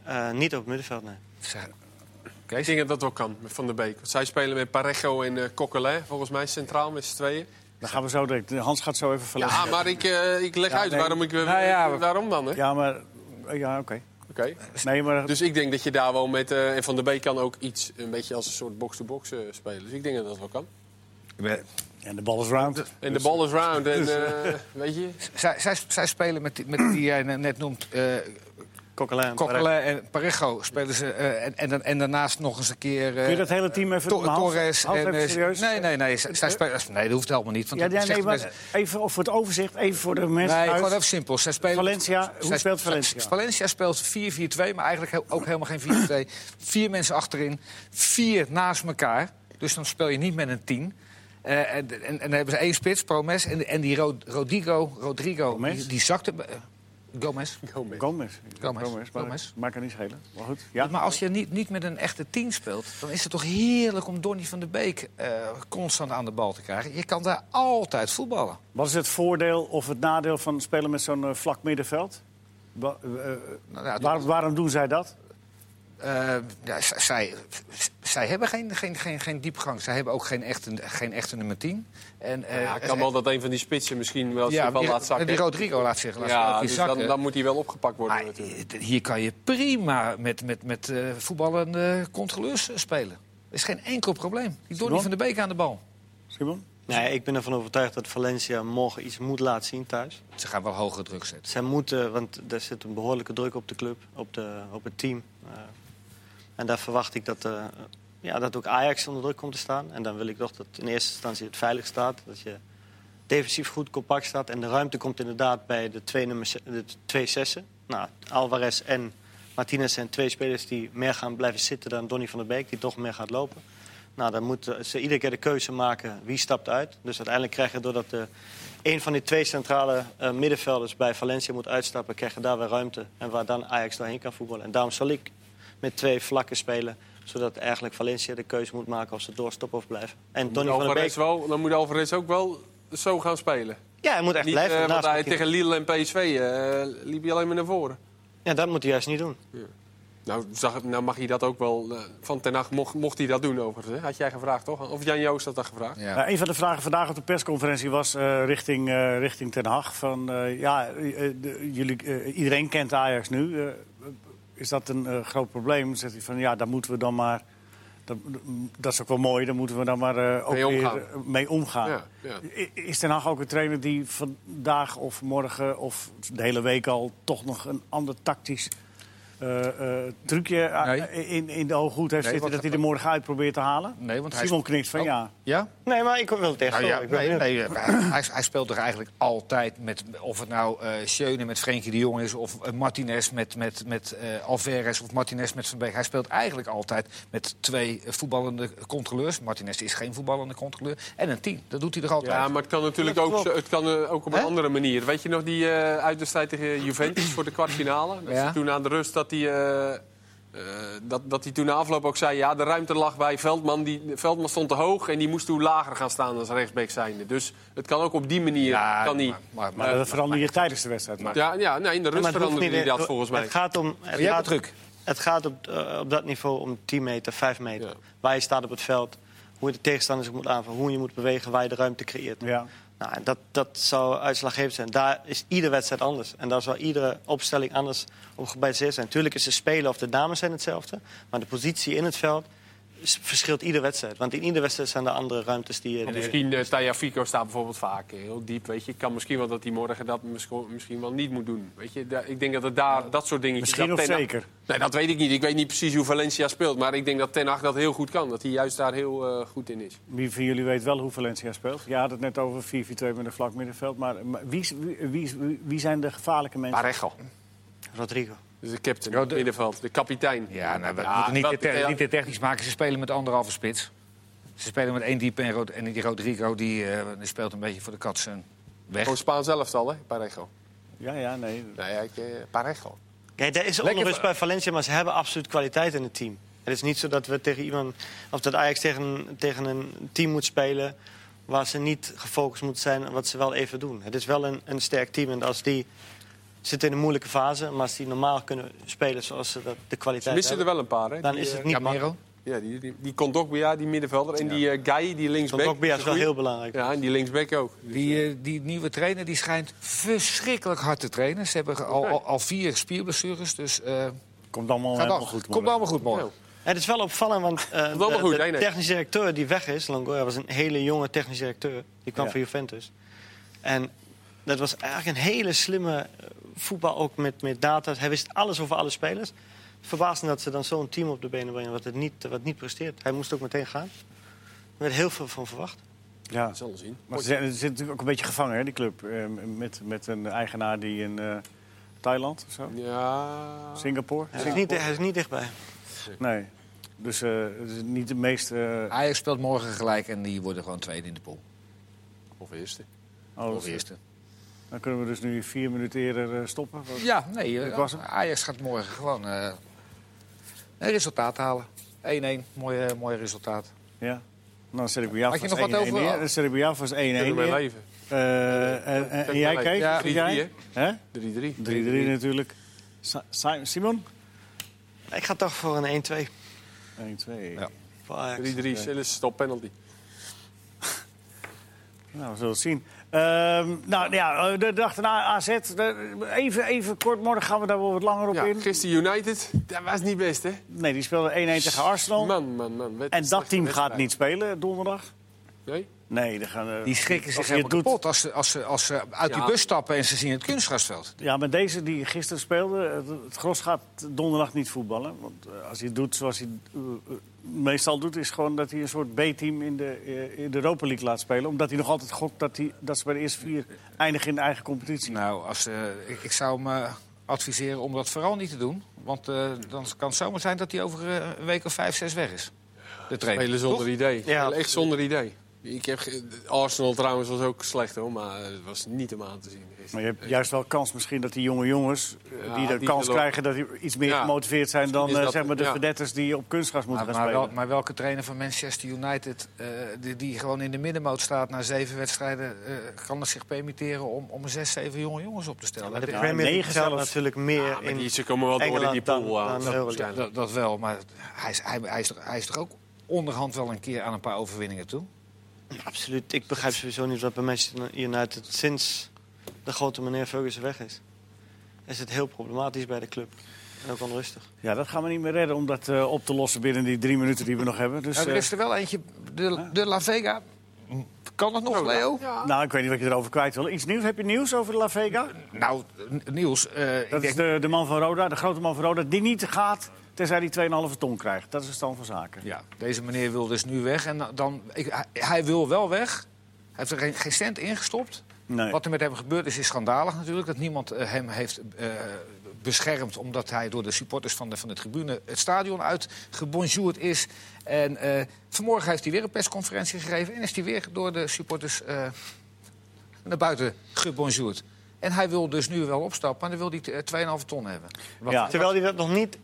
S3: Eh, niet op het middenveld, nee.
S4: Ik denk dat dat wel kan, met Van der Beek. Want zij spelen met Parejo en eh Coquelin, volgens mij centraal met z'n tweeën.
S1: Dan gaan we zo direct... Hans gaat zo even verleggen.
S4: Ja, maar ik, eh, ik leg uit
S1: nee.
S4: waarom, ik, eh,
S5: Nou ja, we-
S4: waarom dan, hè?
S1: eh, Ja, maar... Ja, oké.
S4: Oké.
S1: Nee, maar
S4: Dus ik denk dat je daar wel met... eh, en Van der Beek kan ook iets, een beetje als een soort box-to-box eh, spelen. Dus ik denk dat dat wel kan.
S1: en de bal is round.
S2: Dus-
S4: En de bal is round. En, eh, weet je?
S2: Zij, zij, zij spelen met, die- met die jij ne- net noemt, eh
S3: Kokkelijn.
S2: Coquelin en Parejo. Spelen ze, eh, en, en, dan- en daarnaast nog eens een keer... eh,
S1: Kun je dat hele team even...
S2: To-
S1: maar half-
S2: Torres
S1: half
S2: en...
S1: even
S2: eh,
S1: serieus? Eh?
S2: Nee, nee, nee. zij- zij spelen- nee, dat hoeft helemaal niet. Want
S1: Ja,
S2: dat
S1: ja, nee,
S2: zegt
S1: maar
S2: mensen-
S1: even voor het overzicht, even voor de mensen
S2: nee,
S1: thuis.
S2: gewoon even simpel. Zij spelen,
S1: Valencia, hoe
S2: zij-
S1: speelt Valencia?
S2: Valencia speelt 4-4-2, maar eigenlijk he- ook helemaal geen 4-2. Vier mensen achterin, vier naast elkaar. Dus dan speel je niet met een tien. Eh, en, en, en dan hebben ze één spits, Promes. En, en die Ro- Rodrigo, Rodrigo
S1: Gomez?
S2: die, die zakte... eh, Gomez.
S1: Gomez.
S2: Gomez.
S1: maar
S2: Gomez.
S1: dat Maakt er niet schelen. Maar goed, ja.
S2: Maar als je niet, niet met een echte tien speelt, dan is het toch heerlijk om Donny van der Beek eh, constant aan de bal te krijgen. Je kan daar altijd voetballen.
S1: Wat is het voordeel of het nadeel van spelen met zo'n eh, vlak middenveld? Wa- eh, eh,
S2: Nou, ja,
S1: waarom, waarom doen zij dat?
S2: Eh, ja, z- zij, z- zij hebben geen, geen, geen, geen diepgang. Zij hebben ook geen echte, geen echte nummer 10. En, eh,
S4: Ja, kan wel dat een van die spitsen misschien wel,
S2: ja,
S4: zich wel
S2: die-
S4: laat zakken.
S2: Die Rodrigo laat zich laat zich
S4: ja,
S2: ook die
S4: dus
S2: zakken.
S4: dan, dan moet hij wel opgepakt worden
S2: Maar,
S4: natuurlijk.
S2: eh, hier kan je prima met, met, met eh, voetballende controleurs eh, spelen. Er is geen enkel probleem. Die Donny
S1: Simon?
S2: van der Beek aan de bal.
S1: Simon?
S3: Nee, ik ben ervan overtuigd dat Valencia morgen iets moet laten zien thuis.
S2: Ze gaan wel hogere druk zetten.
S3: Zij moeten, want er zit een behoorlijke druk op de club, op, de, op het team. Eh, en daar verwacht ik dat, eh, ja, dat ook Ajax onder druk komt te staan. En dan wil ik toch dat in eerste instantie het veilig staat. Dat je defensief goed compact staat. En de ruimte komt inderdaad bij de twee, nummer, ze- de twee zessen. Nou, Alvarez en Martinez zijn twee spelers die meer gaan blijven zitten dan Donny van der Beek, die toch meer gaat lopen. Nou, dan moeten ze iedere keer de keuze maken wie stapt uit. Dus uiteindelijk krijg je doordat de, een van die twee centrale eh, middenvelders bij Valencia moet uitstappen, krijg je daar weer ruimte. En waar dan Ajax doorheen kan voetballen. En daarom zal ik met twee vlakken spelen zodat eigenlijk Valencia de keuze moet maken of ze doorstoppen of blijven. En Donny van der Beek...
S4: Alvarez wel, dan moet Alvarez ook wel zo gaan spelen.
S3: Ja, hij moet echt
S4: Niet,
S3: blijven.
S4: eh, want
S3: naast
S4: hij,
S3: Martinez.
S4: tegen Lille en PSV eh, liep hij alleen maar naar voren.
S3: Ja, dat moet hij juist niet doen.
S4: Nou, zag, nou mag hij dat ook wel. eh, van ten Hag mocht, mocht hij dat doen overigens. hè? Had jij gevraagd toch? Of Jan Joost had dat gevraagd.
S5: Ja.
S1: Nou, een van de vragen vandaag op de persconferentie was eh, richting, eh, richting Den Haag. Van, eh, ja, eh, de- jullie, eh, iedereen kent Ajax nu. Eh, is dat een eh, groot probleem? Dan zegt hij van ja, daar moeten we dan maar. Dat, dat is ook wel mooi, daar moeten we dan maar eh, ook
S4: Mee omgaan.
S1: weer eh, mee omgaan.
S4: Ja, ja.
S1: I- Is Den Haag ook een trainer die vandaag of morgen of de hele week al toch nog een ander tactisch eh, eh, trucje eh,
S2: Nee.
S1: in, in de hooghoed heeft
S2: Nee,
S1: zitten
S2: want-
S1: dat hij er morgen uit probeert te halen?
S2: Nee, want hij
S1: Simon knikt van
S2: Oh.
S1: ja.
S2: Ja?
S3: Nee, maar ik wil het echt
S2: Nou ja,
S3: ik ben
S2: nee,
S3: benieuwd.
S2: nee, hij, hij- hij speelt toch eigenlijk altijd met, of het nou eh Schöne met Frenkie de Jong is... of eh, Martinez met, met, met eh, Alvarez of Martinez met Van Beek. Hij speelt eigenlijk altijd met twee eh, voetballende controleurs. Martinez is geen voetballende controleur. En een tien, dat doet hij er altijd.
S4: Ja, maar het kan natuurlijk
S3: Dat
S4: ook,
S3: klopt.
S4: zo- het kan, eh, ook op een
S2: Hè?
S4: andere manier. Weet je nog die eh uitwedstrijd tegen Juventus voor de kwartfinale? Dat
S2: Ja.
S4: ze toen aan de rust dat hij... eh, eh, dat, dat hij toen na afloop ook zei, ja, de ruimte lag bij Veldman. Die, Veldman stond te hoog en die moest toen lager gaan staan als rechtsback zijnde. Dus het kan ook op die manier.
S2: Ja,
S4: kan hij,
S2: maar- maar-
S1: Maar dat verander je tijdens de wedstrijd. Maar,
S4: ja, ja nee, in de
S3: Ja, maar
S4: rust
S3: het hoeft
S4: veranderde
S3: niet
S4: hij
S3: in-
S4: dat volgens mij.
S3: Het gaat om... Het
S2: jij hebt
S3: gaat,
S2: het druk.
S3: Het gaat op, eh, op dat niveau om 10 meter, 5 meter.
S4: Ja.
S3: Waar je staat op het veld. Hoe je de tegenstanders moet aanvallen. Hoe je moet bewegen. Waar je de ruimte creëert.
S1: ja.
S3: Nou, en dat, dat zou uitslaggevend zijn. Daar is iedere wedstrijd anders. En daar zal iedere opstelling anders op gebaseerd zijn. Tuurlijk is de spelen of de dames zijn hetzelfde. Maar de positie in het veld is- verschilt iedere wedstrijd. Want in iedere wedstrijd zijn er andere ruimtes die je...
S4: Want misschien eh Taya Fico staat bijvoorbeeld vaak eh, heel diep. Weet je. Kan misschien wel dat hij morgen dat misko- misschien wel niet moet doen. Weet je. Daar- ik denk dat het daar dat soort dingetjes...
S1: Misschien
S4: dat
S1: of
S4: Ten Hag-
S1: zeker.
S4: Nee, dat weet ik niet. Ik weet niet precies hoe Valencia speelt. Maar ik denk dat Ten Hag dat heel goed kan. Dat hij juist daar heel eh, goed in is.
S1: Wie van jullie weet wel hoe Valencia speelt? Je had het net over 4-4-2 met een vlak middenveld. Maar, maar wie, is- wie, wie, wie- wie zijn de gevaarlijke mensen?
S4: Parejo.
S3: Rodrigo.
S4: Dus de captain,
S2: Ja,
S4: ja,
S2: de-
S4: middenveld, de kapitein.
S2: Ja, nou, we
S4: Ja,
S2: moeten niet,
S4: dat-
S2: te te-
S4: ja.
S2: niet te technisch maken. Ze spelen met anderhalve spits. Ze spelen met één diep en, Rod- en die Rodrigo die, eh, die speelt een beetje voor de katsen weg.
S4: Gewoon Spaans elftal, hè? Parejo.
S1: Ja, ja, nee.
S4: Nee, ik, eh, Parejo.
S3: Kijk, er is onrust bij Valencia, maar ze hebben absoluut kwaliteit in het team. Het is niet zo dat we tegen iemand, of dat Ajax tegen, tegen een team moet spelen waar ze niet gefocust moet zijn op wat ze wel even doen. Het is wel een, een sterk team en als die zitten in een moeilijke fase, maar als die normaal kunnen spelen zoals ze dat, de
S4: Ze
S3: kwaliteit
S4: missen er
S3: hebben,
S4: wel een paar, hè?
S3: dan
S4: Die,
S3: is het
S4: eh,
S3: niet
S2: Camero.
S3: makkelijk.
S4: Ja, die, die, die Kondogbia, die middenvelder. En die eh Guy, die linksback.
S3: Kondogbia is wel
S4: Goeie.
S3: heel belangrijk.
S4: Ja, en die linksback ook. Dus,
S2: Die, eh, die nieuwe trainer die schijnt verschrikkelijk hard te trainen. Ze hebben al, al, al vier spierblessures, dus eh
S1: Komt allemaal helemaal
S2: gaat allemaal
S1: goed.
S2: Komt allemaal goed
S4: Nou.
S2: morgen.
S3: Het is wel opvallend, want eh, de,
S4: allemaal goed,
S3: de
S4: nee, nee.
S3: technische directeur die weg is, Longoria, was een hele jonge technische directeur. Die kwam
S1: Ja.
S3: van Juventus. En dat was eigenlijk een hele slimme eh, voetbal, ook met, met data. Hij wist alles over alle spelers. Verbazend dat ze dan zo'n team op de benen brengen wat, het niet, wat niet presteert. Hij moest ook meteen gaan. Er werd heel veel van verwacht.
S1: Ja.
S4: we zullen zien.
S1: Maar ze zijn- ze zitten natuurlijk ook een beetje gevangen, hè, die club. Eh, met, met een eigenaar die in eh, Thailand of zo.
S4: Ja.
S1: Singapore.
S3: Hij, is niet, hij is niet dichtbij.
S1: Nee. Dus eh, het is niet de meest... eh
S2: Ajax speelt morgen gelijk en die worden gewoon tweede in de pool.
S4: Of eerste.
S1: oh,
S2: Of eerste.
S1: Dan kunnen we dus nu vier minuten eerder eh, stoppen. Want-
S2: Ja, nee, eh,
S1: Dit was hem.
S2: Ajax gaat morgen gewoon eh, een resultaat halen. 1-1, mooi, eh, mooi resultaat.
S1: Ja. Nou, dan zet ik bij jou
S2: Had je
S1: vast 1-1
S2: nog wat over?
S1: neer. Dan zet ik bij jou vast 1-1
S4: Kunnen we
S1: neer.
S4: leven.
S1: Eh, en, en- en
S4: Ja,
S1: jij, Kees?
S2: ja,
S1: Wat vind jij?
S4: 3-3,
S1: Hè?
S4: 3-3.
S1: 3-3 natuurlijk. Sa- Simon- Simon?
S3: Ik ga toch voor een 1-2
S1: 1, 2.
S2: Ja.
S3: voor Ajax.
S4: 3-3. Sillis, stop penalty.
S1: Nou, we zullen het zien. Ehm, nou ja, eh, de dag daarna AZ. de- Even, even kort, morgen gaan we daar wel wat langer op
S4: Ja,
S1: in.
S4: gisteren United, dat was niet best, hè?
S1: Nee, die speelde 1-1 tegen Arsenal.
S4: Man, man, man.
S1: Oh.
S4: Wat
S1: en
S4: een
S1: dat
S4: slechte
S1: team
S4: wedstrijd.
S1: gaat niet spelen donderdag.
S4: Nee?
S1: Nee, dan gaan, eh,
S2: Die schrikken zich
S1: als je het
S2: helemaal kapot als ze, als, ze, als ze uit
S4: Ja.
S2: die bus stappen en ze zien het kunstgrasveld.
S1: Ja, maar deze die gisteren speelde, eh, het, het gros gaat donderdag niet voetballen. Want eh, als hij het doet zoals hij eh, eh, meestal doet, is gewoon dat hij een soort B-team in de, eh, in de Europa League laat spelen. Omdat hij nog altijd gokt dat, hij, dat ze bij de eerste vier eindigen in de eigen competitie.
S2: Nou, als, eh, ik, ik zou hem eh, adviseren om dat vooral niet te doen. Want eh, dan kan het zomaar zijn dat hij over eh, een week of vijf, zes weg is. De trainer.
S4: Spelen zonder idee. Spelen echt
S3: absoluut.
S4: zonder idee. Ik heb ge- Arsenal trouwens was ook slecht hoor, maar het was niet om aan te zien.
S1: Maar je hebt juist wel kans misschien dat die jonge jongens eh,
S4: Ja,
S1: die de
S4: die
S1: kans
S4: zullen-
S1: krijgen... dat die iets meer
S4: Ja.
S1: gemotiveerd zijn dan
S4: Misschien is
S1: eh,
S4: dat-
S1: zeg maar, de
S4: ja.
S1: verdetters die op kunstgras moeten
S2: Maar,
S1: gaan
S2: maar,
S1: spelen.
S2: wel, maar welke trainer van Manchester United, eh, die, die gewoon in de middenmoot staat na zeven wedstrijden, eh, kan het zich permitteren om, om zes, zeven jonge jongens op te stellen?
S3: Maar de
S2: Dat-
S1: Ja,
S3: Premier
S1: negen
S3: League telt
S1: zelfs.
S3: natuurlijk meer
S4: Ja, maar
S3: in
S4: die, ze komen wel door in die
S3: Engeland dan-
S4: pool. eh,
S3: dan
S4: aan.
S3: de Euroleague.
S4: waarschijnlijk.
S2: dat, dat wel, maar hij is, hij, hij is toch, hij is toch ook onderhand wel een keer aan een paar overwinningen toe?
S3: Absoluut. Ik begrijp sowieso niet wat bij Manchester United nou sinds de grote meneer Ferguson weg is. Is het heel problematisch bij de club. En ook onrustig.
S1: Ja, dat gaan we niet meer redden om dat eh, op te lossen binnen die drie minuten die we nog hebben. Dus,
S2: Nou, er
S1: eh,
S2: is er wel eentje, de, de La Vega. Kan het nog, Leo?
S1: nou, ik weet niet wat je erover kwijt wil. Iets nieuws? Heb je nieuws over de La Vega?
S2: Nou, Niels, eh, ik
S1: Dat is
S2: denk
S1: de, de man van Roda, de grote man van Roda, die niet gaat tenzij hij 2,5 ton krijgt. Dat is de stand van zaken.
S2: Ja, deze meneer wil dus nu weg. En dan, ik, hij, hij wil wel weg. Hij heeft er geen, geen cent ingestopt.
S1: Nee.
S2: Wat er met hem gebeurd is, is schandalig natuurlijk. Dat niemand eh, hem heeft eh, beschermd omdat hij door de supporters van de, van de tribune het stadion uitgebonjourd is. En eh, vanmorgen heeft hij weer een persconferentie gegeven en is hij weer door de supporters eh, naar buiten gebonjourd. En hij wil dus nu wel opstappen, maar dan wil hij eh, 2,5 ton hebben. Wat-
S1: Ja.
S3: Terwijl hij dat nog niet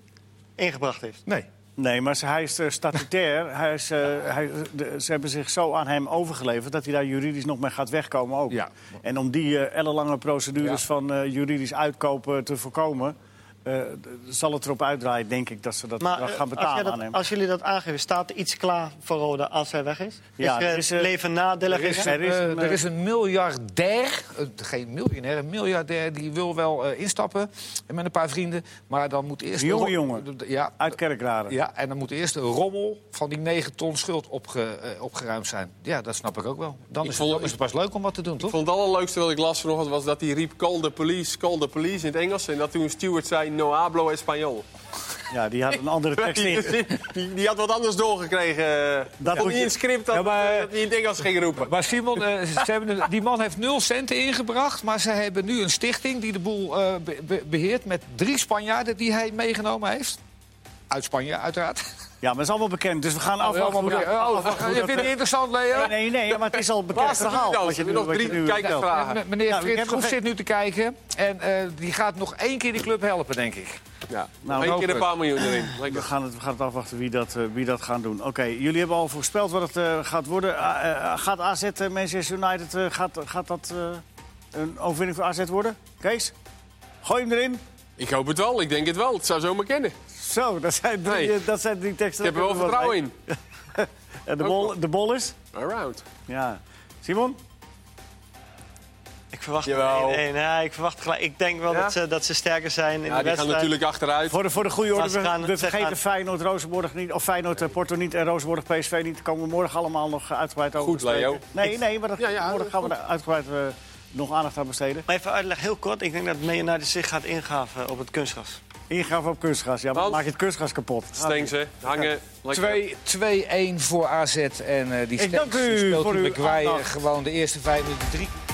S3: ingebracht heeft.
S2: Nee.
S1: Nee, maar ze- hij is eh, statutair. hij is, eh, hij, de- ze hebben zich zo aan hem overgeleverd dat hij daar juridisch nog mee gaat wegkomen ook.
S2: Ja.
S1: En om die eh, ellenlange procedures
S2: Ja.
S1: van eh, juridisch uitkopen te voorkomen... eh, d- zal het erop uitdraaien, denk ik, dat ze dat
S3: Maar
S1: wel
S3: eh,
S1: gaan
S3: als, jij
S1: betalen
S3: dat-
S1: aan hem.
S3: als jullie dat aangeven, staat er iets klaar voor Roda als hij weg is?
S1: Ja,
S3: is er
S1: er is, eh,
S3: leven na de
S1: er is-
S3: legende?
S1: er is-
S2: Eh,
S1: een, eh,
S2: er is een miljardair, eh, geen miljonair, een miljardair die wil wel eh, instappen en met een paar vrienden. Maar dan moet eerst.
S1: Een jonge
S2: de-
S1: jongen.
S2: de- Ja,
S1: Uit Kerkrade.
S2: ja, en dan moet eerst de rommel van die 9 ton schuld opge- eh, opgeruimd zijn. Ja, dat snap ik ook wel. Dan
S4: Ik
S2: is,
S4: vond-
S2: het, dan is het pas leuk om wat te doen,
S4: Ik
S2: toch?
S4: vond het allerleukste wat ik las vanochtend was dat hij riep call the police, call the police in het Engels. En dat toen Stewart zei no hablo español.
S1: Ja, die had een andere tekst in.
S4: Die, die, die had wat anders doorgekregen. Dat
S1: moet
S4: stond niet
S1: je-
S4: in het script dat,
S1: Ja, maar-
S4: dat hij in het Engels ging roepen.
S2: Maar Simon, eh, ze hebben een- die man heeft nul centen ingebracht. Maar ze hebben nu een stichting die de boel eh, be- be- beheert. met drie Spanjaarden die hij meegenomen heeft. Uit Spanje, uiteraard.
S1: Ja, maar het is allemaal bekend, dus we gaan afwachten hoe dat-
S2: Oh,
S1: afwachten hoe
S2: je
S1: dat-
S2: vindt het interessant, Leo?
S1: Nee, nee, maar het is al een bekend
S4: Laatste
S1: verhaal.
S4: video.
S1: wat je nu-
S4: Nog
S1: wat je
S4: drie
S1: nu
S4: kijkers
S1: vertelt.
S4: vragen.
S2: M- meneer
S1: Nou, ik
S2: Frits
S1: heb nog
S2: Groef
S1: geen-
S2: zit nu te kijken. En eh, die gaat nog één keer die club helpen, denk ik.
S4: Ja,
S1: Nou,
S4: Eén keer
S2: hopen.
S4: een paar miljoen erin.
S1: We
S4: Lekker.
S1: gaan het, we gaan het afwachten wie dat, eh, wie dat gaan doen. Oké, jullie hebben al voorspeld wat het eh, gaat worden. Ah, eh, gaat AZ en Manchester United, eh, gaat, gaat dat eh, een overwinning voor AZ worden? Kees, gooi hem erin.
S4: Ik hoop het wel, ik denk het wel. Het zou zomaar kennen.
S1: Zo, dat zijn, drie,
S4: Nee.
S1: eh, dat zijn die teksten.
S4: Ik heb er wel vertrouwen in.
S1: En Eh, de bol, de bol is?
S4: Around.
S1: Ja. Simon?
S3: Ik verwacht
S4: Jawel.
S3: een 1-1. Ja, ik, verwacht gelijk. ik denk wel
S4: Ja?
S3: dat, ze, dat ze sterker zijn in de
S4: Ja, die gaan
S3: wedstrijd.
S4: natuurlijk achteruit.
S1: Voor de, voor de goede orde,
S3: Maar ze gaan-
S1: we, we
S3: ze
S1: vergeten
S3: gaan-
S1: Feyenoord, Rozenborg niet. Of Feyenoord, eh, Porto niet en Rozenborg, PSV niet. Daar komen we morgen allemaal nog uitgebreid over
S4: Goed,
S1: spreken.
S4: Leo.
S1: Nee, nee, maar dat,
S4: Ja, ja,
S1: morgen gaan we daar uitgebreid eh, nog aandacht aan besteden.
S3: Maar even uitleg, heel kort. Ik denk dat Leonardo zich gaat ingaven op het kunstgras.
S1: Ingave op kunstgas. Ja, maar dan
S4: Want-
S1: maak je het kunstgas kapot.
S4: Stengs, hè? Hangen. lekker.
S2: 2-1 voor AZ en eh die
S1: Ik dank
S2: Stenks
S1: u
S2: speelt
S1: voor
S2: eh, die
S1: uw
S2: McGuire
S1: aandacht.
S2: gewoon de eerste vijf minuten drie